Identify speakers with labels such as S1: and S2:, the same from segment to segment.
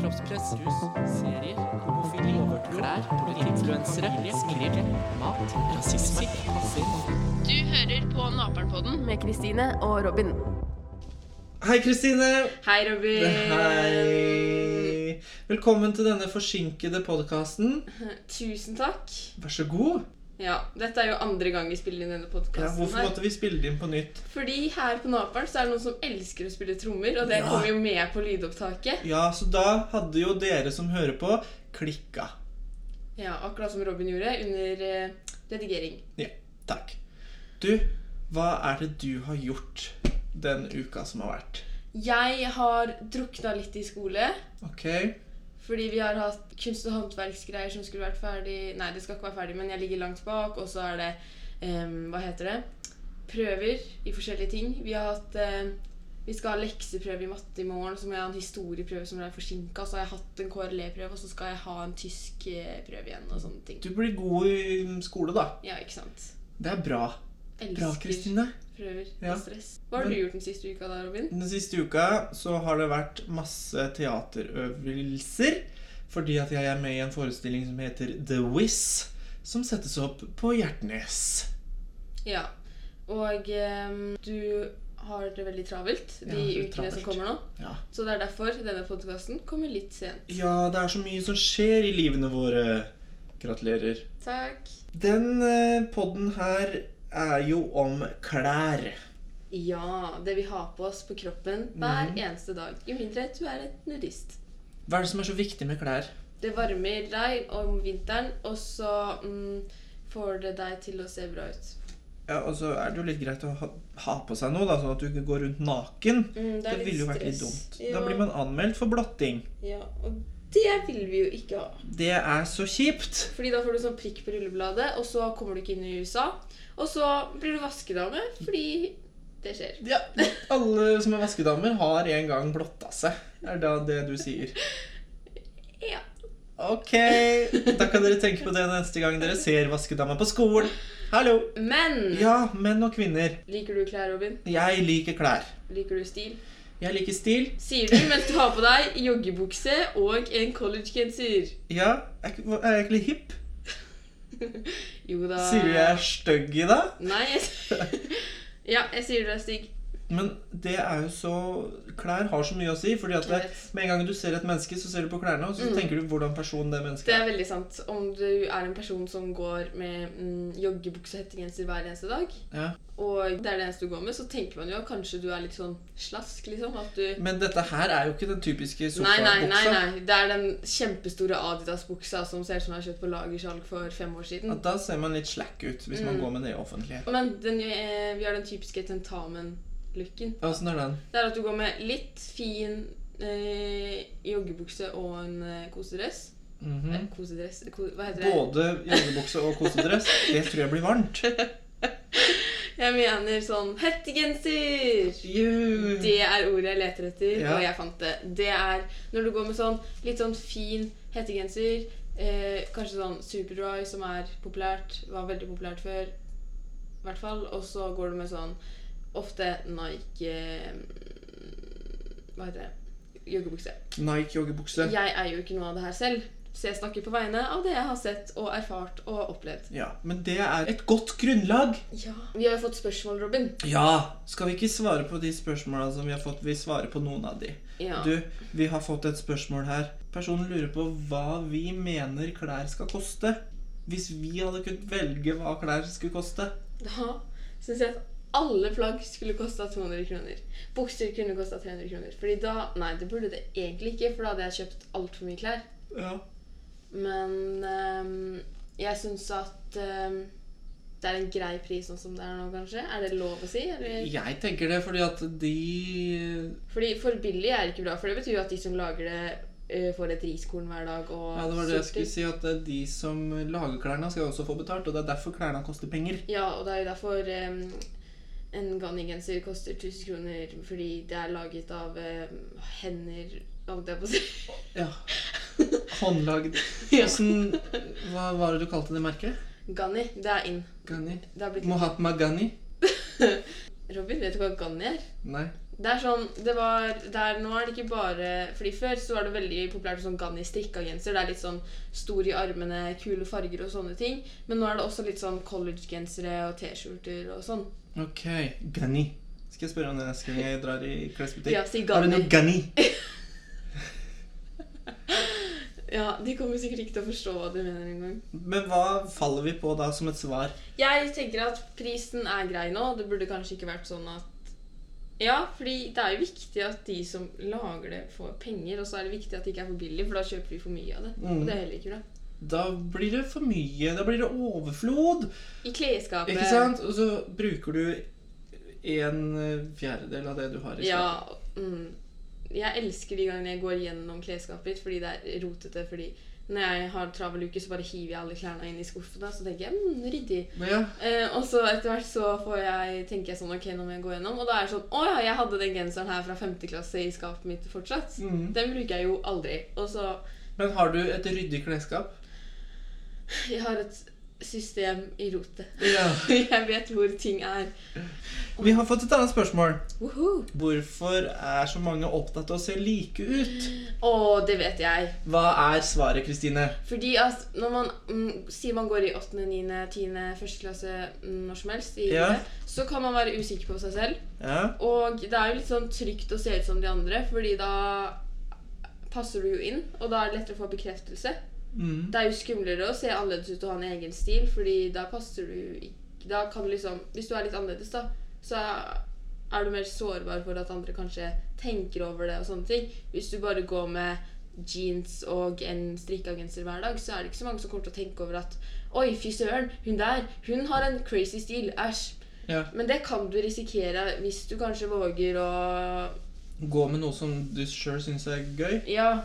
S1: kroppspress, rus, serier, homofili, klær, influensere, smilere, mat, rasisme, passer.
S2: Du hører på Naperen-podden med Kristine og Robin.
S3: Hei, Kristine!
S2: Hei, Robin.
S3: Hei! Velkommen til denne forsinkede podkasten.
S2: Tusen takk.
S3: Vær så god.
S2: Ja, dette er jo andre gang vi spiller inn denne
S3: Ja,
S2: podkasten.
S3: hvorfor måtte vi spille det inn på nytt?
S2: Fordi her på Naperen så er det noen som elsker å spille trommer, og det
S3: Ja.
S2: kommer jo med på lydopptaket.
S3: Ja, så da hadde jo dere som hører på, klikka.
S2: Ja, Akkurat som Robin gjorde under eh, redigering.
S3: Ja, takk. Du, hva er det du har gjort den uka som har vært?
S2: Jeg har drukna litt i skole.
S3: Ok?
S2: Fordi vi har hatt kunst- og håndverksgreier som skulle vært ferdig Nei, det skal ikke være ferdig, men jeg ligger langt bak. Og så er det em, Hva heter det? Prøver i forskjellige ting. Vi har hatt em, Vi skal ha lekseprøve i matte i morgen, så må jeg ha en historieprøve som er forsinka. Så har jeg hatt en KRLE-prøve, og så skal jeg ha en tysk eh, prøve igjen. Og sånne ting.
S3: Du blir god i skole, da.
S2: Ja, ikke sant?
S3: Det er bra. Bra,
S2: Elsker
S3: Kristine.
S2: prøver
S3: Ja.
S2: og stress. Hva har du
S3: Men-
S2: gjort den siste uka da, Robin?
S3: Den siste uka så har det vært masse teaterøvelser. Fordi at jeg er med i en forestilling som heter The Wiz. Som settes opp på Hjertnes.
S2: Ja. Og em, du har det veldig travelt de
S3: Ja,
S2: ukene
S3: travelt.
S2: som kommer nå.
S3: Ja.
S2: Så det er derfor denne podkasten kommer litt sent.
S3: ja, det er så mye som skjer i livene våre. Gratulerer.
S2: Takk.
S3: Den eh, podden her er jo om klær.
S2: Ja, det vi har på oss på kroppen hver eneste dag. Jo mindre du er et nudist.
S3: Hva er det som er så viktig med klær?
S2: Det varmer deg om vinteren, og så mm, får det deg til å se bra ut.
S3: Ja, Og så er det jo litt greit å ha, ha på seg noe, da, sånn at du ikke går rundt naken.
S2: Mm, det er
S3: det
S2: litt
S3: ville jo vært litt
S2: stress.
S3: dumt.
S2: Ja.
S3: Da blir man anmeldt for blotting.
S2: Ja, Og det vil vi jo ikke ha.
S3: Det er så kjipt.
S2: Fordi da får du sånn prikk på rullebladet, og så kommer du ikke inn i USA. Og så blir du vaskedame fordi det skjer.
S3: Ja, alle som er vaskedamer har en gang blotta seg. Er da det du sier?
S2: Ja.
S3: Ok, da kan dere tenke på det neste gang dere ser vaskedama på skolen. Hallo!
S2: Men
S3: Ja, menn og kvinner.
S2: liker du klær, Robin?
S3: Jeg liker klær.
S2: Liker du stil?
S3: Jeg liker stil.
S2: Sier du mens du har på deg joggebukse og en collegegenser.
S3: Ja, er ikke- er jeg ikke litt hipp?
S2: Jo da
S3: Sier du jeg er stygg i dag?
S2: Nei. Jeg... ja, jeg sier du er stygg.
S3: Men det er jo så Klær har så mye å si. fordi at
S2: Jeg
S3: det,
S2: vet.
S3: Med en gang du ser et menneske, så ser du på klærne, og så tenker du hvordan personen det mennesket
S2: Mm. Det
S3: er.
S2: er veldig sant. Om du er en person som går med mm, joggebukse og hettegenser hver eneste dag,
S3: Ja.
S2: og det er det eneste du går med, så tenker man jo at kanskje du er litt sånn slask, liksom. At du
S3: Men dette her er jo ikke den typiske
S2: Nei,
S3: sofabuksa.
S2: nei, nei. nei. Det er den kjempestore Adidas-buksa som ser ut som den er kjøpt på lagersalg for fem år siden.
S3: At da ser man litt slack ut hvis
S2: Mm.
S3: man går med det i offentlighet.
S2: Men den, eh, vi har den typiske tentamen-looken.
S3: Åssen sånn er den?
S2: Det er at du går med litt fin eh, joggebukse og en eh, kosedress.
S3: Mhm.
S2: Eh, kosedress ko, Hva heter det?
S3: Både joggebukse og kosedress. Det tror jeg blir varmt.
S2: Jeg mener sånn hettegenser!
S3: Juhu.
S2: Det er ordet jeg leter etter,
S3: Mm. Ja.
S2: og jeg fant det. Det er når du går med sånn litt sånn fin hettegenser. Eh, kanskje sånn Superdry, som er populært. Var veldig populært før. I hvert fall. Og så går du med sånn ofte Nike eh, Hva heter det? Joggebukse.
S3: Nike-joggebukse.
S2: Jeg eier jo ikke noe av det her selv, så jeg snakker på vegne av det jeg har sett og erfart og opplevd.
S3: Ja, Men det er et godt grunnlag.
S2: Ja. Vi har jo fått spørsmål, Robin.
S3: Ja! Skal vi ikke svare på de spørsmåla som vi har fått? Vi svarer på noen av de.
S2: Ja.
S3: Du, vi har fått et spørsmål her. Personen lurer på hva vi mener klær skal koste. Hvis vi hadde kunnet velge hva klær skulle koste.
S2: Da syns jeg at alle plagg skulle kosta 200 kroner. Bukser kunne kosta 300 kroner. Fordi da Nei, det burde det egentlig ikke, for da hadde jeg kjøpt altfor mye klær.
S3: Ja.
S2: Men ehm, jeg syns at ehm, det er en grei pris sånn som det er nå, kanskje. Er det lov å si? Eller?
S3: Jeg tenker det fordi at de
S2: Fordi for billig er ikke bra, for det betyr jo at de som lager det, eh, får et riskorn hver dag. Og
S3: Ja, det var det jeg
S2: sulter.
S3: skulle si, at det er de som lager klærne, skal også få betalt. Og det er derfor klærne koster penger.
S2: Ja, og det er jo derfor em, en Ganni-genser koster 1000 kroner fordi det er laget av em, hender holdt jeg på å si.
S3: Ja. Håndlagd.
S2: Ja.
S3: Åssen Hva var det du kalte det merket?
S2: Ganni, det er in.
S3: Ghani?
S2: Det har blitt
S3: Mohatma Ghani?
S2: Robin, vet du hva Ganni er?
S3: Nei.
S2: Det er sånn, det var, der nå er det ikke bare Fordi før så var det veldig populært med sånn Ganni strikka genser. Det er litt sånn stor i armene, kule farger og sånne ting. Men nå er det også litt sånn collegegensere og T-skjorter og sånn.
S3: Ok, Gunny. Skal jeg spørre om det neste gang jeg drar i klesbutikk?
S2: Ja, si
S3: Har du noe
S2: Gunny.
S3: Gunny?
S2: Ja, De kommer sikkert ikke til å forstå hva du mener engang.
S3: Men hva faller vi på da som et svar?
S2: Jeg tenker at prisen er grei nå. Det burde kanskje ikke vært sånn at Ja, fordi det er jo viktig at de som lager det, får penger. Og så er det viktig at det ikke er for billig, for da kjøper vi for mye av det. Og
S3: Mm.
S2: det er heller ikke bra.
S3: Da blir det for mye. Da blir det overflod.
S2: I klesskapet
S3: Ikke sant? Og så bruker du en eh, fjerdedel av det du har i
S2: Ja.
S3: skapet.
S2: Mm, jeg elsker de gangene jeg går gjennom klesskapet mitt fordi det er rotete. fordi når jeg har travel uke, så bare hiver jeg alle klærne inn i skuffen. Da, så tenker jeg mm, ryddig.
S3: Men ja.
S2: Eh, og så etter hvert så får jeg, tenker jeg sånn Ok, nå må jeg gå gjennom. Og da er det sånn Å ja, jeg hadde den genseren her fra 5. klasse i skapet mitt fortsatt.
S3: Mhm.
S2: Den bruker jeg jo aldri. Og så
S3: Men har du et ryddig klesskap?
S2: Jeg har et system i rotet.
S3: Ja.
S2: jeg vet hvor ting er.
S3: Vi har fått et annet spørsmål.
S2: Woohoo!
S3: Hvorfor er så mange opptatt av å se like ut?
S2: Å, det vet jeg.
S3: Hva er svaret, Kristine?
S2: Fordi at når man mm, sier man går i 8., 9., 10., 1. klasse mm, når som helst, i
S3: Ja.
S2: livet, så kan man være usikker på seg selv.
S3: Ja.
S2: Og det er jo litt sånn trygt å se ut som de andre, fordi da passer du jo inn, og da er det lettere å få bekreftelse.
S3: Mm.
S2: Det er jo skumlere å se annerledes ut og ha en egen stil, fordi da passer du ikke Da kan du liksom Hvis du er litt annerledes, da, så er du mer sårbar for at andre kanskje tenker over det og sånne ting. Hvis du bare går med jeans og en strikka genser hver dag, så er det ikke så mange som kommer til å tenke over at Oi, fy søren, hun der, hun har en crazy stil. Æsj.
S3: Ja.
S2: Men det kan du risikere hvis du kanskje våger å
S3: Gå med noe som du sjøl syns er gøy.
S2: Ja,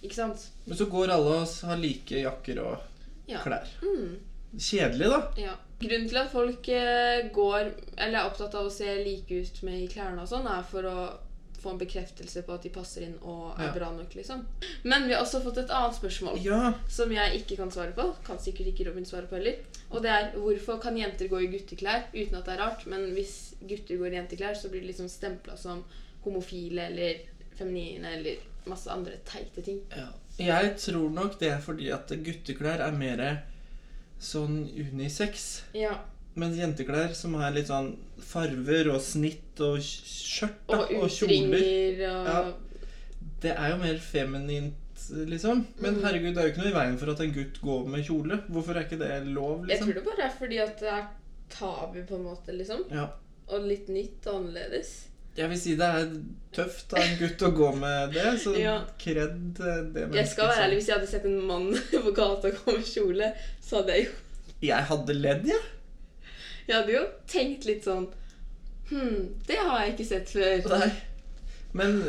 S2: ikke sant?
S3: Men så går alle og s- har like jakker og
S2: Ja.
S3: klær.
S2: Mm.
S3: Kjedelig, da.
S2: Ja. Grunnen til at folk eh, går eller er opptatt av å se like ut med i klærne og sånn, er for å få en bekreftelse på at de passer inn og er
S3: Ja.
S2: bra nok, liksom. Men vi har også fått et annet spørsmål
S3: Ja.
S2: som jeg ikke kan svare på. Kan sikkert ikke Robin svare på heller. Og det er hvorfor kan jenter gå i gutteklær uten at det er rart, men hvis gutter går i jenteklær, så blir de liksom stempla som homofile eller feminine eller masse andre teite ting.
S3: Ja. Jeg tror nok det er fordi at gutteklær er mer sånn unisex.
S2: Ja.
S3: Mens jenteklær, som er litt sånn farver og snitt og sk- skjørt da,
S2: Og
S3: og, kjoler,
S2: utringer og
S3: Ja. det er jo mer feminint, liksom. Men
S2: Mm.
S3: herregud, det er jo ikke noe i veien for at en gutt går med kjole. Hvorfor er ikke det lov,
S2: Jeg
S3: liksom?
S2: tror det bare er fordi at det er tabu, på en måte, liksom.
S3: Ja.
S2: Og litt nytt og annerledes.
S3: Jeg vil si det er tøft av en gutt å gå med det, så
S2: Ja.
S3: kred eh, det
S2: Jeg skal være ærlig,
S3: som-
S2: hvis jeg hadde sett en mann på gata gå med kjole, så hadde jeg jo
S3: Jeg hadde ledd, jeg.
S2: Jeg hadde jo tenkt litt sånn Hm, det har jeg ikke sett før.
S3: Nei. Men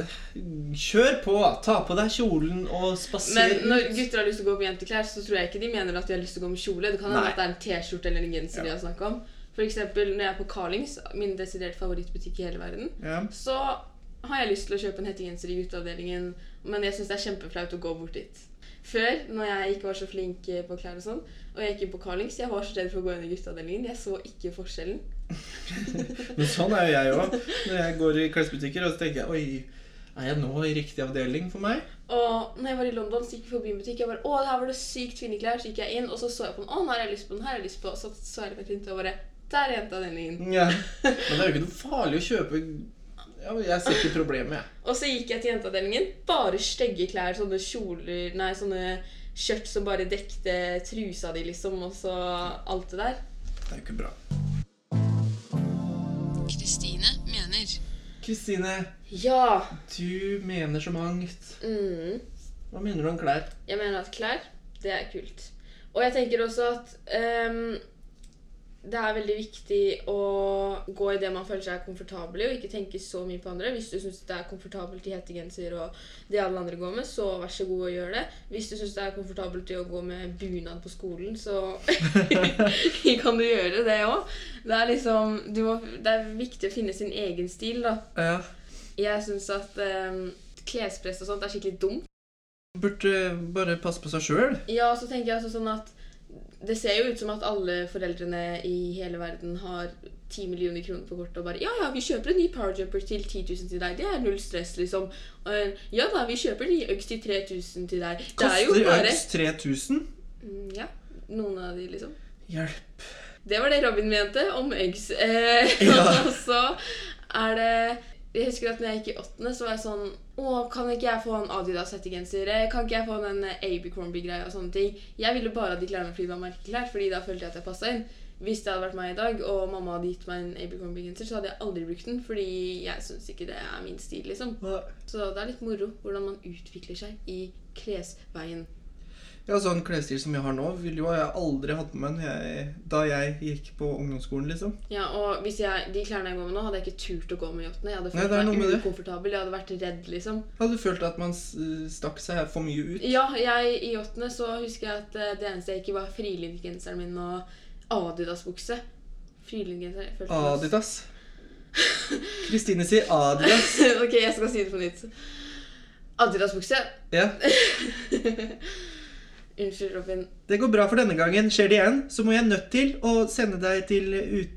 S3: kjør på! Ta på deg kjolen og spaser
S2: Men når
S3: ut.
S2: gutter har lyst til å gå på jenteklær, så tror jeg ikke de mener at de har lyst til å gå med kjole. Det kan
S3: Nei.
S2: hende at det er en T-skjorte eller en genser de
S3: Ja.
S2: har snakket om. For eksempel når jeg er på Carlings, min desidert favorittbutikk i hele verden,
S3: Ja.
S2: så har jeg lyst til å kjøpe en hettegenser i gutteavdelingen, men jeg syns det er kjempeflaut å gå bort dit. Før, når jeg ikke var så flink eh, på klær og sånn, og jeg gikk inn på Carlings, jeg var så redd for å gå inn i gutteavdelingen. Jeg så ikke forskjellen.
S3: Men sånn er jo jeg òg. Når jeg går i klesbutikker, og så tenker jeg Oi, er jeg nå i riktig avdeling for meg?
S2: Og når jeg var i London, så gikk jeg forbi en butikk. Jeg bare, å, her var det sykt fine klær. Så gikk jeg inn, og så så jeg på den. Å, nå har jeg lyst på den, her har jeg lyst på. Så så jeg litt rundt og bare Der er jenteavdelingen.
S3: Ja. Men det er jo ikke noe farlig å kjøpe ja, men Jeg ser ikke problemet, jeg.
S2: Og så gikk jeg til jenteavdelingen. Bare stygge klær. Sånne kjoler Nei, sånne skjørt som bare dekte trusa di, liksom, og så alt det der.
S3: Det er jo ikke bra.
S4: Kristine mener.
S3: Kristine,
S2: Ja.
S3: du mener så mangt.
S2: Mm.
S3: Hva mener du om klær?
S2: Jeg mener at klær, det er kult. Og jeg tenker også at ehm, det er veldig viktig å gå i det man føler seg komfortabel i, og ikke tenke så mye på andre. Hvis du syns det er komfortabelt i hettegenser og det alle andre går med, så vær så god og gjør det. Hvis du syns det er komfortabelt i å gå med bunad på skolen, så kan du gjøre det òg. Det er liksom du må, Det er viktig å finne sin egen stil, da.
S3: Ja.
S2: Jeg syns at ehm, klespress og sånt er skikkelig dumt.
S3: Burde bare passe på seg sjøl.
S2: Ja, og så tenker jeg også sånn at det ser jo ut som at alle foreldrene i hele verden har 10 millioner kroner på kortet og bare Ja, ja, vi kjøper en ny powerjumper til 10 000 til deg. Det er null stress, liksom. Og, eh, Ja da, vi kjøper en ny Uggs til 3000 til deg. Det er jo
S3: Koster
S2: bare
S3: Uggs 3000?
S2: Mm, Ja, noen av de, liksom.
S3: Hjelp.
S2: Det var det Robin mente om eggs. Eh,
S3: Ja.
S2: og så er det Jeg husker at når jeg gikk i åttende, så var jeg sånn Å, kan ikke jeg få en Adidas hettegenser? Eh, Kan ikke jeg få den eh, Abercrombie greia og sånne ting? Jeg ville bare ha de klærne fordi det var merkeklær, fordi da følte jeg at jeg passa inn. Hvis det hadde vært meg i dag, og mamma hadde gitt meg en Abercrombie genser så hadde jeg aldri brukt den, fordi jeg syns ikke det er min stil, liksom. Så det er litt moro hvordan man utvikler seg i klesveien.
S3: Ja, sånn klesstil som jeg har nå, ville jo jeg aldri hatt med meg når jeg- da jeg gikk på ungdomsskolen, liksom.
S2: Ja, og hvis jeg, De klærne jeg går med nå, hadde jeg ikke turt å gå med i åttende. Jeg hadde
S3: Nei,
S2: følt
S3: det er noe med
S2: meg
S3: det.
S2: ukomfortabel. Jeg hadde vært redd, liksom.
S3: Jeg hadde følt at man s- stakk seg for mye ut.
S2: Ja, jeg i åttende så husker jeg at eh, det eneste jeg ikke var frilinjegenseren min og Adidas-bukse. Frilinjegenser jeg følte meg-
S3: Adidas. Kristine sier Adidas.
S2: ok, jeg skal si det på nytt. Adidas-bukse.
S3: Ja.
S2: Unnskyld, Robin.
S3: Det går bra for denne gangen. Skjer det igjen, så må jeg nødt til å sende deg til ut...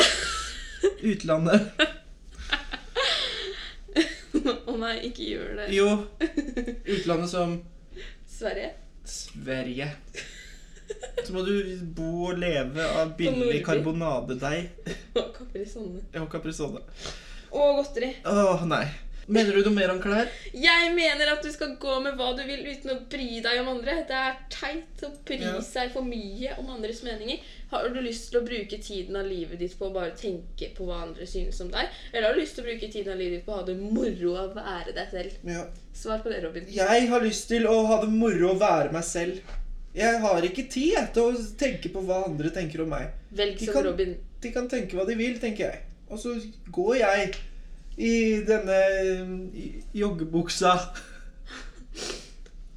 S3: utlandet.
S2: Å nei, ikke gjør det.
S3: Jo, utlandet som
S2: Sverige.
S3: Sverige. Så må du bo og leve av billig
S2: På Nordby.
S3: karbonadedeig
S2: Og Caprisonne.
S3: og caprisone.
S2: Og godteri.
S3: Åh, nei. Mener du noe mer om klær?
S2: Jeg mener at du skal gå med hva du vil uten å bry deg om andre. Det er teit å bry
S3: Ja.
S2: seg for mye om andres meninger. Har du lyst til å bruke tiden av livet ditt på å bare tenke på hva andre synes om deg? Eller har du lyst til å bruke tiden av livet ditt på å ha det moro av å være deg selv?
S3: Ja.
S2: Svar på det, Robin.
S3: Jeg har lyst til å ha det moro å være meg selv. Jeg har ikke tid jeg, til å tenke på hva andre tenker om meg.
S2: Velg
S3: Vi
S2: som
S3: kan-
S2: Robin.
S3: De kan tenke hva de vil, tenker jeg. Og så går jeg i denne eh, joggebuksa.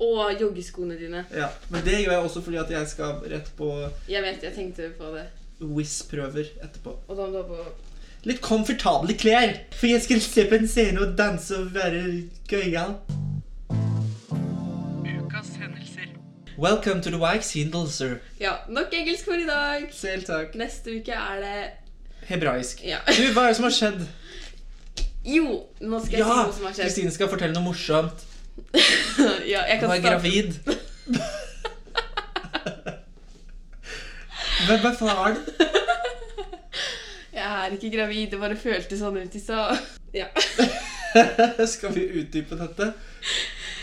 S2: Og joggeskoene dine.
S3: Ja, Men det gjør jeg også fordi at jeg skal rett på
S2: Jeg vet, jeg tenkte på det.
S3: Wizz-prøver etterpå.
S2: Og da må du ha på
S3: Litt komfortable klær, for jeg skal se på en scene og danse og være gøyal.
S1: Ukas hendelser.
S3: Welcome to the Wikes Hindle, sir.
S2: Ja, nok engelsk for i dag.
S3: Selv takk.
S2: Neste uke er det
S3: Hebraisk.
S2: Ja.
S3: Du, hva er det som har skjedd?
S2: Jo, nå skal jeg si
S3: Ja!
S2: noe som har skjedd.
S3: Kristine skal fortelle noe morsomt.
S2: ja, jeg
S3: Hun
S2: kan
S3: er
S2: starte.
S3: gravid. Hvem er faren?
S2: Jeg er ikke gravid, det bare føltes sånn ut i stad. Ja.
S3: Skal vi utdype dette?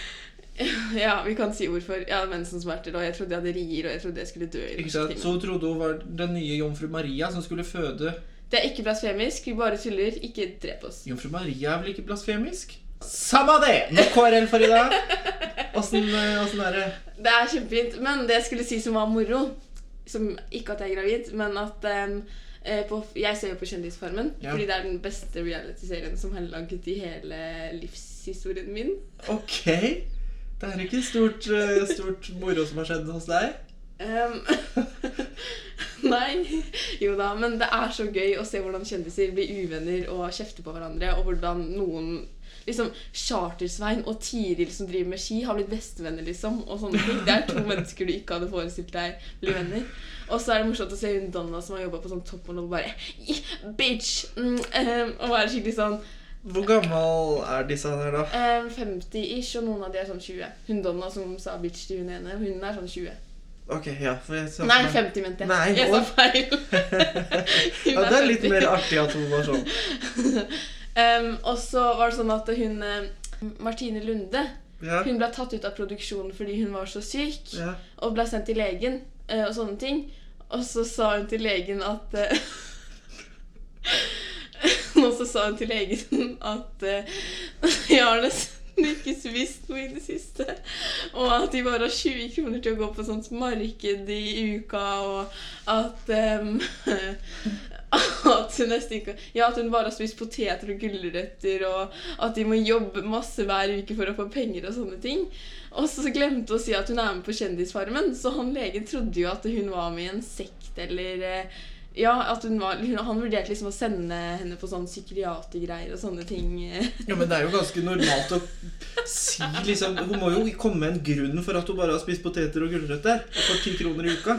S2: ja, vi kan si ord for Jeg hadde mensensmerter, og jeg trodde jeg hadde rier, og jeg trodde jeg skulle dø. i
S3: Ikke
S2: norske
S3: sant?
S2: timer.
S3: Så hun trodde hun var den nye jomfru Maria som skulle føde.
S2: Det er ikke blasfemisk, vi bare tuller. Ikke drep oss.
S3: Jomfru Maria er vel ikke blasfemisk? Samma det! Nok KRL for i dag. Åssen eh, åssen er det?
S2: Det er kjempefint. Men det jeg skulle si som var moro som, Ikke at jeg er gravid, men at em, eh, på, Jeg ser jo på Kjendisfarmen,
S3: Ja.
S2: fordi det er den beste reality-serien som har laget i hele livshistorien min.
S3: Ok. Det er ikke stort, eh, stort moro som har skjedd hos deg.
S2: Ehm, nei. Jo da, men det er så gøy å se hvordan kjendiser blir uvenner og kjefter på hverandre, og hvordan noen liksom Chartersvein og Tiril som driver med ski, har blitt bestevenner, liksom. Og sånne ting. Det er to mennesker du ikke hadde forestilt deg blir venner. Og så er det morsomt å se hun Donna som har jobba på sånn toppmodell og bare «Yeah, Bitch! Mm, ehm, og være skikkelig sånn
S3: Hvor gammel er disse her, da?
S2: ehm, 50-ish, og noen av de er sånn 20. Hun Donna som sa bitch til hun ene, hun er sånn 20.
S3: Ok, ja, for jeg sa
S2: Nei, 50 mente jeg.
S3: Nei,
S2: jeg sa
S3: å.
S2: feil. Hun
S3: Ja, det er litt
S2: 50.
S3: mer artig at hun var sånn.
S2: Em, og så var det sånn at hun eh, Martine Lunde
S3: Ja,
S2: Hun ble tatt ut av produksjonen fordi hun var så syk,
S3: ja.
S2: og ble sendt til legen eh, og sånne ting. Og så sa hun til legen at eh, Og så sa hun til legen at eh, jeg har nesten ikke spist noe i det siste. Og at de bare har 20 kroner til å gå på sånt marked i uka, og at ehm, At hun nesten ikke Ja, at hun bare har spist poteter og gulrøtter, og at de må jobbe masse hver uke for å få penger og sånne ting. Og så glemte hun å si at hun er med på Kjendisfarmen, så han legen trodde jo at hun var med i en sekt eller eh, Ja, at hun var, hun- han vurderte liksom å sende henne på sånn psykiatergreier og sånne ting.
S3: Ja, men det er jo ganske normalt å si liksom Hun må jo komme med en grunn for at hun bare har spist poteter og gulrøtter og får ti kroner i uka.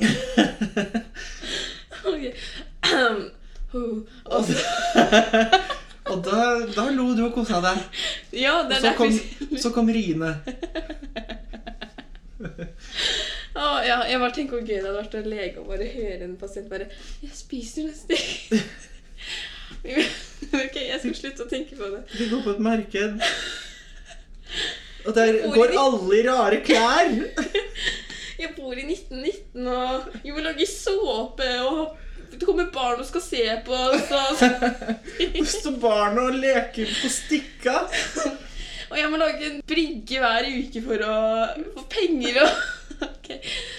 S2: Ok. Ho.
S3: Og, og da, da lo du og kosa deg.
S2: Ja, det
S3: Og
S2: er
S3: så kom,
S2: derfor
S3: så kom riene.
S2: Å, ja, jeg bare tenker hvor gøy det hadde vært å lege og bare høre en pasient bare 'Jeg spiser neste Ok, jeg skal slutte å tenke på det.
S3: Vi går på et marked. Og der
S2: Hvor
S3: går
S2: i-
S3: alle i rare klær.
S2: Jeg bor i 1919, og jeg må lage såpe, og det kommer barn og skal se på, og så
S3: Og står barna og leker på stikka.
S2: Og jeg må lage en brygge hver uke for å få penger og Ok.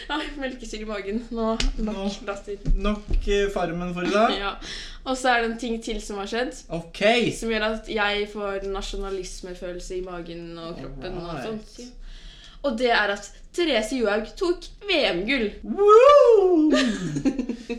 S2: Ja, melkesyre i magen. Nå nok
S3: Nå.
S2: latter.
S3: Nok eh, Farmen for i dag.
S2: Ja. Og så er det en ting til som har skjedd.
S3: Ok.
S2: Som gjør at jeg får nasjonalismefølelse i magen og kroppen.
S3: Alright.
S2: Og sånt. Og det er at Therese Johaug tok VM-gull.
S3: Woo!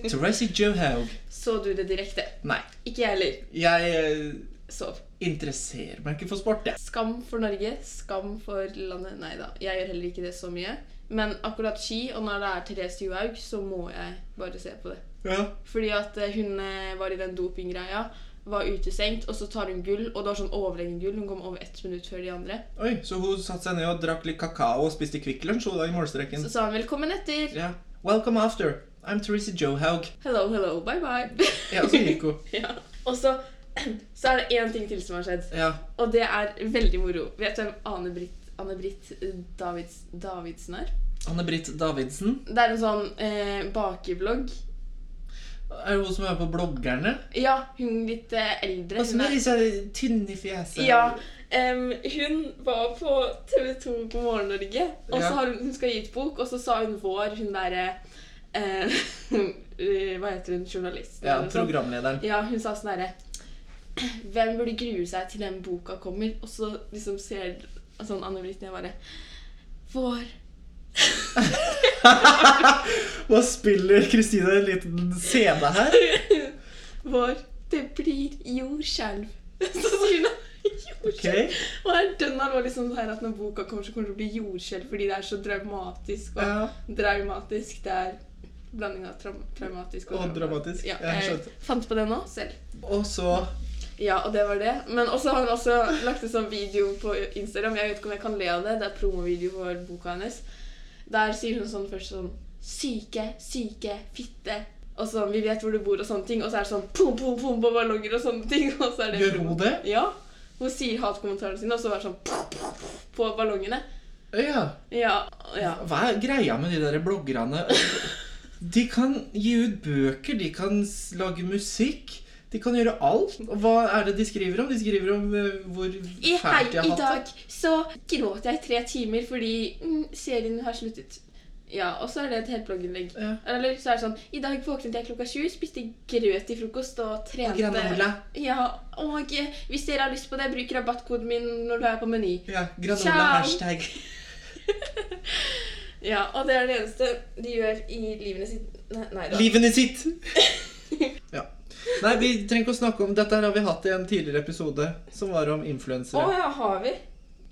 S3: Therese Johaug.
S2: Så du det direkte?
S3: Nei.
S2: Ikke jeg heller.
S3: Jeg eh,
S2: Sov.
S3: interesserer meg ikke for sport, jeg.
S2: Skam for Norge, skam for landet. Nei da, jeg gjør heller ikke det så mye. Men akkurat ski, og når det er Therese Johaug, så må jeg bare se på det.
S3: Ja.
S2: Fordi at eh, hun eh, var i den dopinggreia, var utestengt, og så tar hun gull, og det var sånn overlegen gull. Hun kom over ett minutt før de andre.
S3: Oi, så hun satte seg ned og drakk litt kakao og spiste Kvikk Lunsj hun da i målstreken.
S2: Så sa hun 'velkommen etter'.
S3: Ja. Welcome after. I'm Therese Johaug.
S2: Hello, hello, bye bye.
S3: Ja, og så gikk hun.
S2: Ja. Og så, så er det én ting til som har skjedd,
S3: Ja.
S2: og det er veldig moro. Vet du hvem Anne-Britt Anne-Britt eh, Davids, Davidsen er?
S3: Anne-Britt Davidsen.
S2: Det er en sånn eh, bakeblogg.
S3: Er det hun som er på bloggerne?
S2: Ja, hun litt eh, eldre.
S3: Og som
S2: Hun
S3: er
S2: er-
S3: litt sånn tynn i fjeset.
S2: Ja. em, hun var på TV2 på Morgen-Norge, og så
S3: Ja.
S2: har hun, hun skal gi ut bok, og så sa hun vår, hun derre eh, eh, Hva heter hun? Journalisten?
S3: Ja,
S2: eller noe sånt.
S3: programlederen.
S2: Ja, hun sa sånn herre Hvem burde grue seg til den boka kommer? Og så liksom ser sånn Anne-Britt ned bare Vår.
S3: Hva spiller Kristine en liten scene her?
S2: Vår. Det blir jordskjelv. Så sier hun jordskjelv.
S3: Ok.
S2: Og det er dønn alvorlig sånn her at når boka kommer, så kommer det til å bli jordskjelv fordi det er så dramatisk og
S3: Ja.
S2: dramatisk. Det er blanding av traum traumatisk
S3: Og dramatisk.
S2: Ja,
S3: Jeg
S2: jeg
S3: skjønte.
S2: fant på det nå selv.
S3: Og så
S2: Ja, og det var det. Men også har hun også lagt ut sånn video på Instagram. Jeg vet ikke om jeg kan le av det. Det er promovideo for boka hennes. Der sier hun sånn først sånn Syke, syke, fitte. Og sånn Vi vet hvor du bor, og sånne ting. Og så er det sånn pom, pom, pom på ballonger og sånne ting. Og så er det
S3: gjør hun det.
S2: Ja. Hun sier hatkommentarene sine, og så er det sånn pom, pom, pom på ballongene.
S3: Ja.
S2: Ja. ja.
S3: Hva er greia med de der bloggerne? De kan gi ut bøker, de kan s- lage musikk. De kan gjøre alt. Og hva er det de skriver om? De skriver om eh, hvor
S2: I, hei,
S3: fælt de har
S2: I
S3: hatt
S2: dag så gråt jeg i tre timer fordi mm, serien har sluttet. Ja, og så er det et helt blogginnlegg.
S3: det. Ja.
S2: Eller så er det sånn I dag våknet jeg klokka sju, spiste grøt til frokost og
S3: Og
S2: trente
S3: granola.
S2: Ja, og eh, hvis dere har lyst på det, bruk rabattkoden min når du er på Meny.
S3: Ja, granola
S2: Ciao.
S3: hashtag.
S2: Ja, og det er det eneste de gjør i livene sitt Nei, nei da.
S3: Livene sitt! Ja. Nei, vi trenger ikke å snakke om Dette her har vi hatt i en tidligere episode som var om
S2: Å
S3: influensere.
S2: ja, har vi?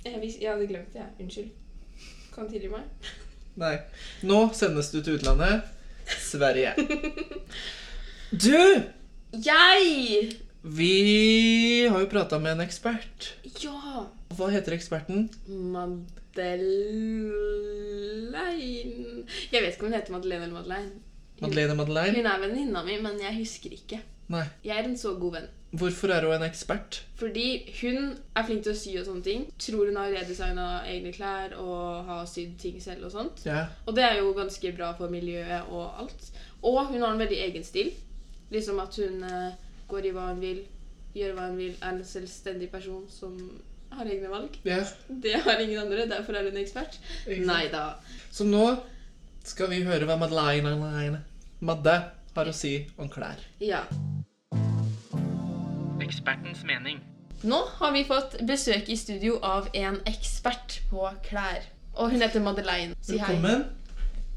S2: Jeg, vis- jeg hadde glemt det, jeg. Unnskyld. Kan tilgi meg?
S3: Nei. Nå sendes du til utlandet. Sverige. Du!
S2: Jeg!
S3: Vi har jo prata med en ekspert.
S2: Ja.
S3: Hva heter eksperten? Madeleine
S2: Jeg vet ikke om hun heter Madeleine eller Madeleine.
S3: Madeleine Madeleine?
S2: Hun er venninna mi, men jeg husker ikke.
S3: Nei.
S2: Jeg er en så god venn.
S3: Hvorfor er hun en ekspert?
S2: Fordi hun er flink til å sy og sånne ting. Tror hun har redesigna egne klær og har sydd ting selv og sånt.
S3: Ja.
S2: Og det er jo ganske bra for miljøet og alt. Og hun har en veldig egen stil. Liksom at hun eh, går i hva hun vil, gjør hva hun vil, er en selvstendig person som har egne valg.
S3: ja.
S2: Det har ingen andre, derfor er hun ekspert.
S3: Ikke sant?
S2: Nei da.
S3: Så nå skal vi høre hva Madeleine Madeleine- Madde har å si om klær.
S2: Ja.
S1: Ekspertens mening.
S2: Nå har vi fått besøk i studio av en ekspert på klær. Og hun heter Madeleine. Si hei.
S3: Velkommen.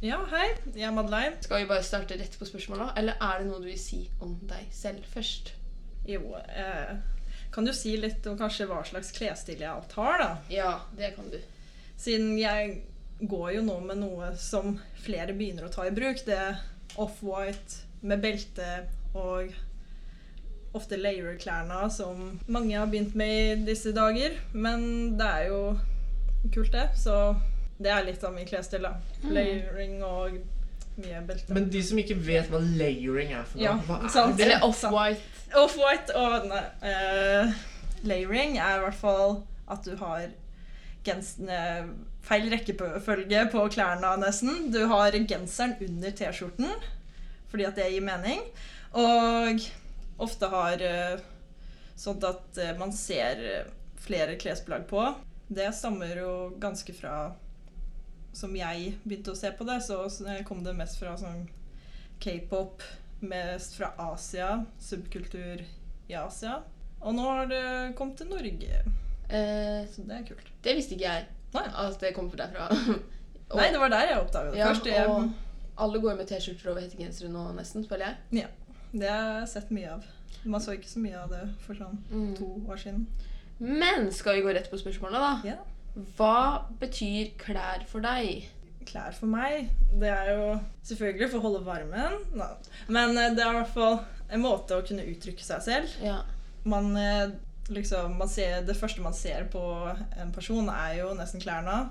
S5: Ja, hei. Jeg er Madeleine.
S2: Skal vi bare starte rett på spørsmåla, eller er det noe du vil si om deg selv først?
S5: Jo, eh, kan du si litt om kanskje hva slags klesstil jeg alt har, da?
S2: Ja, det kan du.
S5: Siden jeg går jo nå med noe som flere begynner å ta i bruk. Det er off-white med belte og ofte layer-klærne som mange har begynt med i disse dager. Men det er jo kult, det. Så det er litt av min klesstil, da. Layering og mye belte.
S3: Mm. Men de som ikke vet hva layering er for noe
S5: Ja,
S3: hva er
S5: sant.
S3: det?
S2: Eller off-white.
S5: Off-white og nei, eh, layering er i hvert fall at du har genserne feil rekkefølge på klærne nesten. Du har genseren under T-skjorten, fordi at det gir mening. Og ofte har eh, sånt at eh, man ser eh, flere klesplagg på. Det stammer jo ganske fra Som jeg begynte å se på det, så så kom det mest fra sånn k-pop mest fra Asia, subkultur i Asia. Og nå har det kommet til Norge,
S2: Eh,
S5: så det er kult.
S2: det visste ikke jeg
S5: Nei.
S2: at det kom derfra. Og-
S5: Nei, det var der jeg oppdaga det
S2: ja,
S5: først. Jeg,
S2: og alle går med T-skjorter over hettegensere nå, nesten, føler jeg.
S5: Det har jeg sett mye av. Man så ikke så mye av det for sånn
S2: Mm.
S5: to år siden.
S2: Men skal vi gå rett på spørsmålet, da?
S5: Ja.
S2: Hva betyr klær for deg?
S5: Klær for meg, det er jo selvfølgelig for å holde varmen. Nei. Men eh, det er i hvert fall en måte å kunne uttrykke seg selv.
S2: Ja.
S5: man, eh, liksom, man ser, Det første man ser på en person, er jo nesten klærne.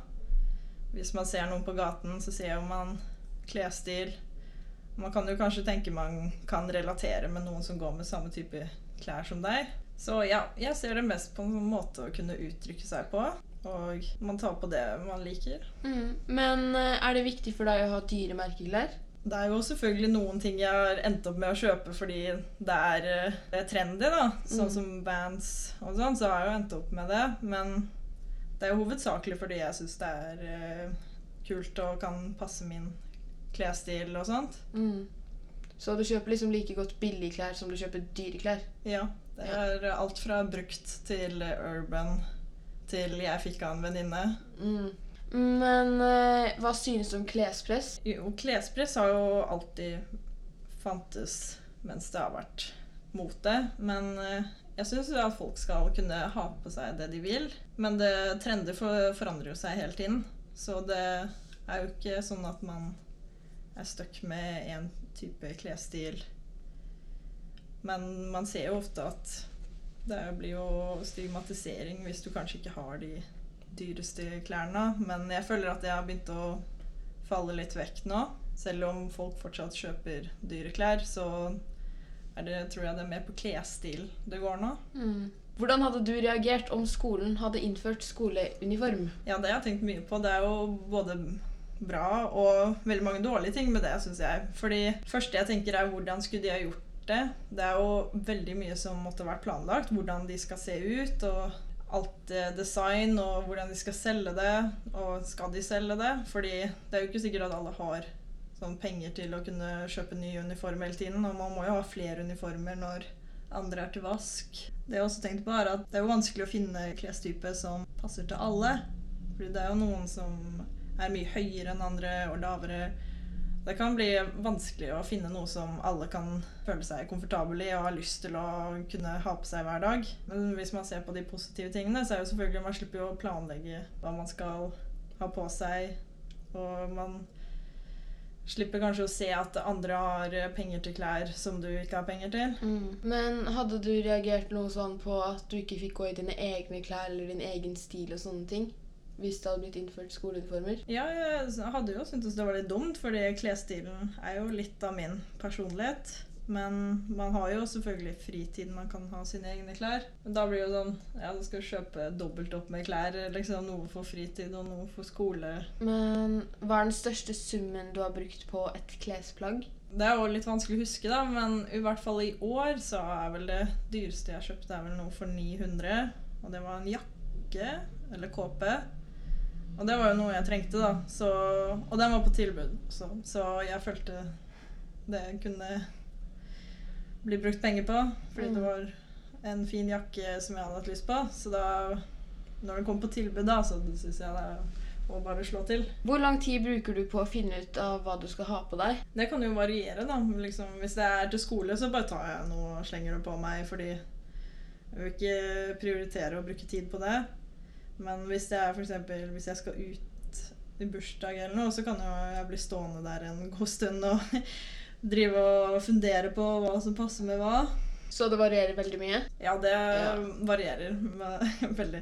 S5: Hvis man ser noen på gaten, så ser jo man klesstil. Man kan jo kanskje tenke man kan relatere med noen som går med samme type klær som deg. Så ja, jeg ser det mest på en måte å kunne uttrykke seg på. Og man tar på det man liker.
S2: Mm. Men eh, er det viktig for deg å ha dyre merkeklær?
S5: Det er jo selvfølgelig noen ting jeg har endt opp med å kjøpe fordi det er, eh, det er trendy, da. Sånn
S2: Mm.
S5: som bands og sånn, så har jeg jo endt opp med det. Men det er jo hovedsakelig fordi jeg syns det er eh, kult og kan passe min klesstil og sånt.
S2: Mm. Så du kjøper liksom like godt billige klær som du kjøper dyre klær?
S5: Ja. Det er alt fra brukt til eh, urban til jeg fikk av en venninne.
S2: Mm. Men eh, hva synes du om klespress?
S5: Jo, klespress har jo alltid fantes mens det har vært mote. Men eh, jeg syns at folk skal kunne ha på seg det de vil. Men det, trender for, forandrer jo seg hele tiden. Så det er jo ikke sånn at man er stuck med én type klesstil. Men man ser jo ofte at det blir jo stigmatisering hvis du kanskje ikke har de dyreste klærne. Men jeg føler at jeg har begynt å faller litt vekk nå. Selv om folk fortsatt kjøper dyre klær, så er det, tror jeg det er mer på klesstil det går nå.
S2: Mm. Hvordan hadde du reagert om skolen hadde innført skoleuniform?
S5: Ja, det har jeg tenkt mye på. Det er jo både bra og veldig mange dårlige ting med det, syns jeg. Fordi første jeg tenker er hvordan skulle de ha gjort det? Det er jo veldig mye som måtte vært planlagt. Hvordan de skal se ut, og alt eh, design, og hvordan de skal selge det, og skal de selge det? Fordi det er jo ikke sikkert at alle har sånn penger til å kunne kjøpe ny uniform hele tiden, og man må jo ha flere uniformer når andre er til vask. Det jeg også tenkte på er at det er jo vanskelig å finne klestype som passer til alle. Fordi det er jo noen som er mye høyere enn andre og lavere. Det kan bli vanskelig å finne noe som alle kan føle seg komfortabel i og har lyst til å kunne ha på seg hver dag. Men hvis man ser på de positive tingene, så er jo selvfølgelig man slipper jo å planlegge hva man skal ha på seg. Og man slipper kanskje å se at andre har penger til klær som du ikke har penger til.
S2: Mm. Men hadde du reagert noe sånn på at du ikke fikk gå i dine egne klær eller din egen stil og sånne ting? Hvis det hadde blitt innført skoleuniformer?
S5: Ja, jeg s- hadde jo syntes det var litt dumt, fordi klesstilen er jo litt av min personlighet. Men man har jo selvfølgelig fritid, man kan ha sine egne klær. Men da blir det jo sånn Ja, du skal kjøpe dobbelt opp med klær. liksom Noe for fritid og noe for skole.
S2: Men hva er den største summen du har brukt på et klesplagg?
S5: Det er jo litt vanskelig å huske, da, men i hvert fall i år så er vel det dyreste jeg har kjøpt, det er vel noe for 900. Og det var en jakke, eller kåpe. Og det var jo noe jeg trengte, da. Så, og den var på tilbud, så, så jeg følte det kunne bli brukt penger på. Fordi det var en fin jakke som jeg hadde hatt lyst på. Så da, når den kom på tilbud, da, så syns jeg det og bare slå til.
S2: Hvor lang tid bruker du på å finne ut av hva du skal ha på deg?
S5: Det kan jo variere, da. Liksom, hvis det er til skole, så bare tar jeg noe og slenger det på meg, fordi jeg vil ikke prioritere å bruke tid på det. Men hvis det er for eksempel, hvis jeg skal ut i bursdag eller noe, så kan jo jeg bli stående der en god stund og drive og fundere på hva som passer med hva.
S2: Så det varierer veldig mye.
S5: Ja, det
S2: Ja.
S5: varierer med, veldig.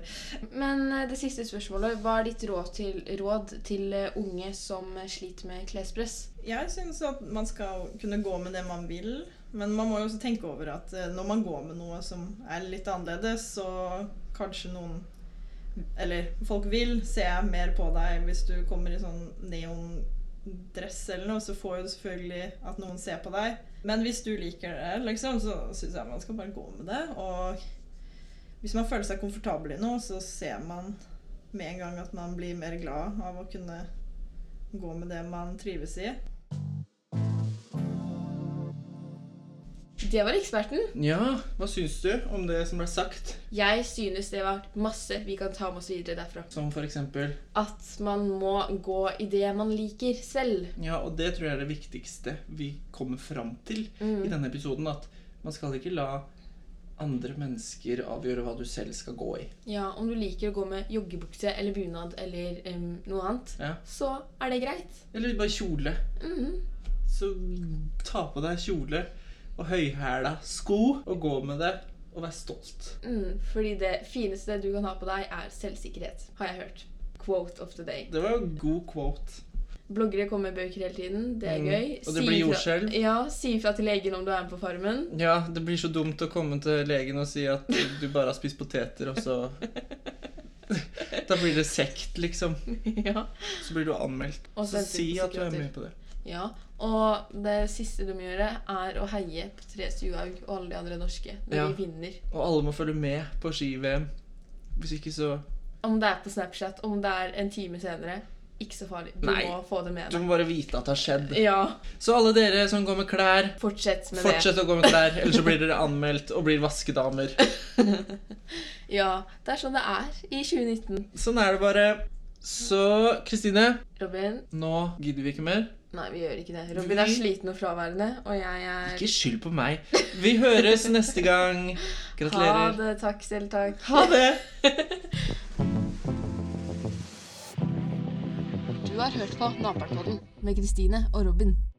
S2: Men eh, det siste spørsmålet. Hva er ditt råd til, råd til eh, unge som eh, sliter med klespress?
S5: Jeg syns at man skal kunne gå med det man vil, men man må jo også tenke over at eh, når man går med noe som er litt annerledes, så kanskje noen Eller folk vil se mer på deg hvis du kommer i sånn neondress eller noe, så får jo du selvfølgelig at noen ser på deg. Men hvis du liker det, liksom, så syns jeg man skal bare gå med det. Og hvis man føler seg komfortabel i noe, så ser man med en gang at man blir mer glad av å kunne gå med det man trives i.
S2: Det var eksperten.
S3: Ja, hva syns du om det som ble sagt?
S2: Jeg synes det var masse vi kan ta med oss videre derfra.
S3: Som for eksempel
S2: At man må gå i det man liker selv.
S3: Ja, og det tror jeg er det viktigste vi kommer fram til
S5: Mm.
S3: i denne episoden. At man skal ikke la andre mennesker avgjøre hva du selv skal gå i.
S2: Ja, Om du liker å gå med joggebukse eller bunad eller em, noe annet,
S3: Ja.
S2: så er det greit.
S3: Eller bare kjole.
S2: Mhm.
S3: Så ta på deg kjole og høyhæla sko og gå med det og vær stolt.
S2: Mm, fordi det fineste du kan ha på deg, er selvsikkerhet, har jeg hørt. Quote of the day.
S3: Det var jo en god quote.
S2: Bloggere kommer med bøker hele tiden. Det er
S3: Mm,
S2: gøy.
S3: og det blir
S2: ifra-
S3: jordskjelv.
S2: Ja, Si ifra til legen om du er med på Farmen.
S3: Ja, det blir så dumt å komme til legen og si at du bare har spist poteter, og så Da blir det sekt, liksom.
S2: ja.
S3: Så blir du anmeldt.
S2: Og
S3: Så
S2: sendt ut
S3: si
S2: på
S3: at du er
S2: psykiater.
S3: med på det.
S2: ja. Og det siste du må gjøre, er å heie på Therese Johaug og alle de andre norske når
S3: Ja.
S2: de vinner.
S3: Og alle må følge med på ski-VM. Hvis ikke, så
S2: Om det er på Snapchat, om det er en time senere. Ikke så farlig. Du
S3: Nei.
S2: må få det med
S3: Du
S2: deg.
S3: må bare vite at det har skjedd.
S2: Ja.
S3: Så alle dere som går med klær,
S2: Fortsett med
S3: fortsett å gå med klær, ellers så blir dere anmeldt og blir vaskedamer.
S2: det. Ja. Det er sånn det er i 2019.
S3: Sånn er det bare. Så Kristine,
S2: Robin
S3: nå gidder vi ikke mer.
S2: Nei, vi gjør ikke det. Robin er
S3: Vi-
S2: sliten og fraværende, og jeg er
S3: Ikke skyld på meg. Vi høres neste
S2: Ha
S3: gang. Gratulerer.
S2: det. Takk selv, takk.
S3: Ha det.
S4: Du har hørt på Naperpodden.
S2: Med Kristine og Robin.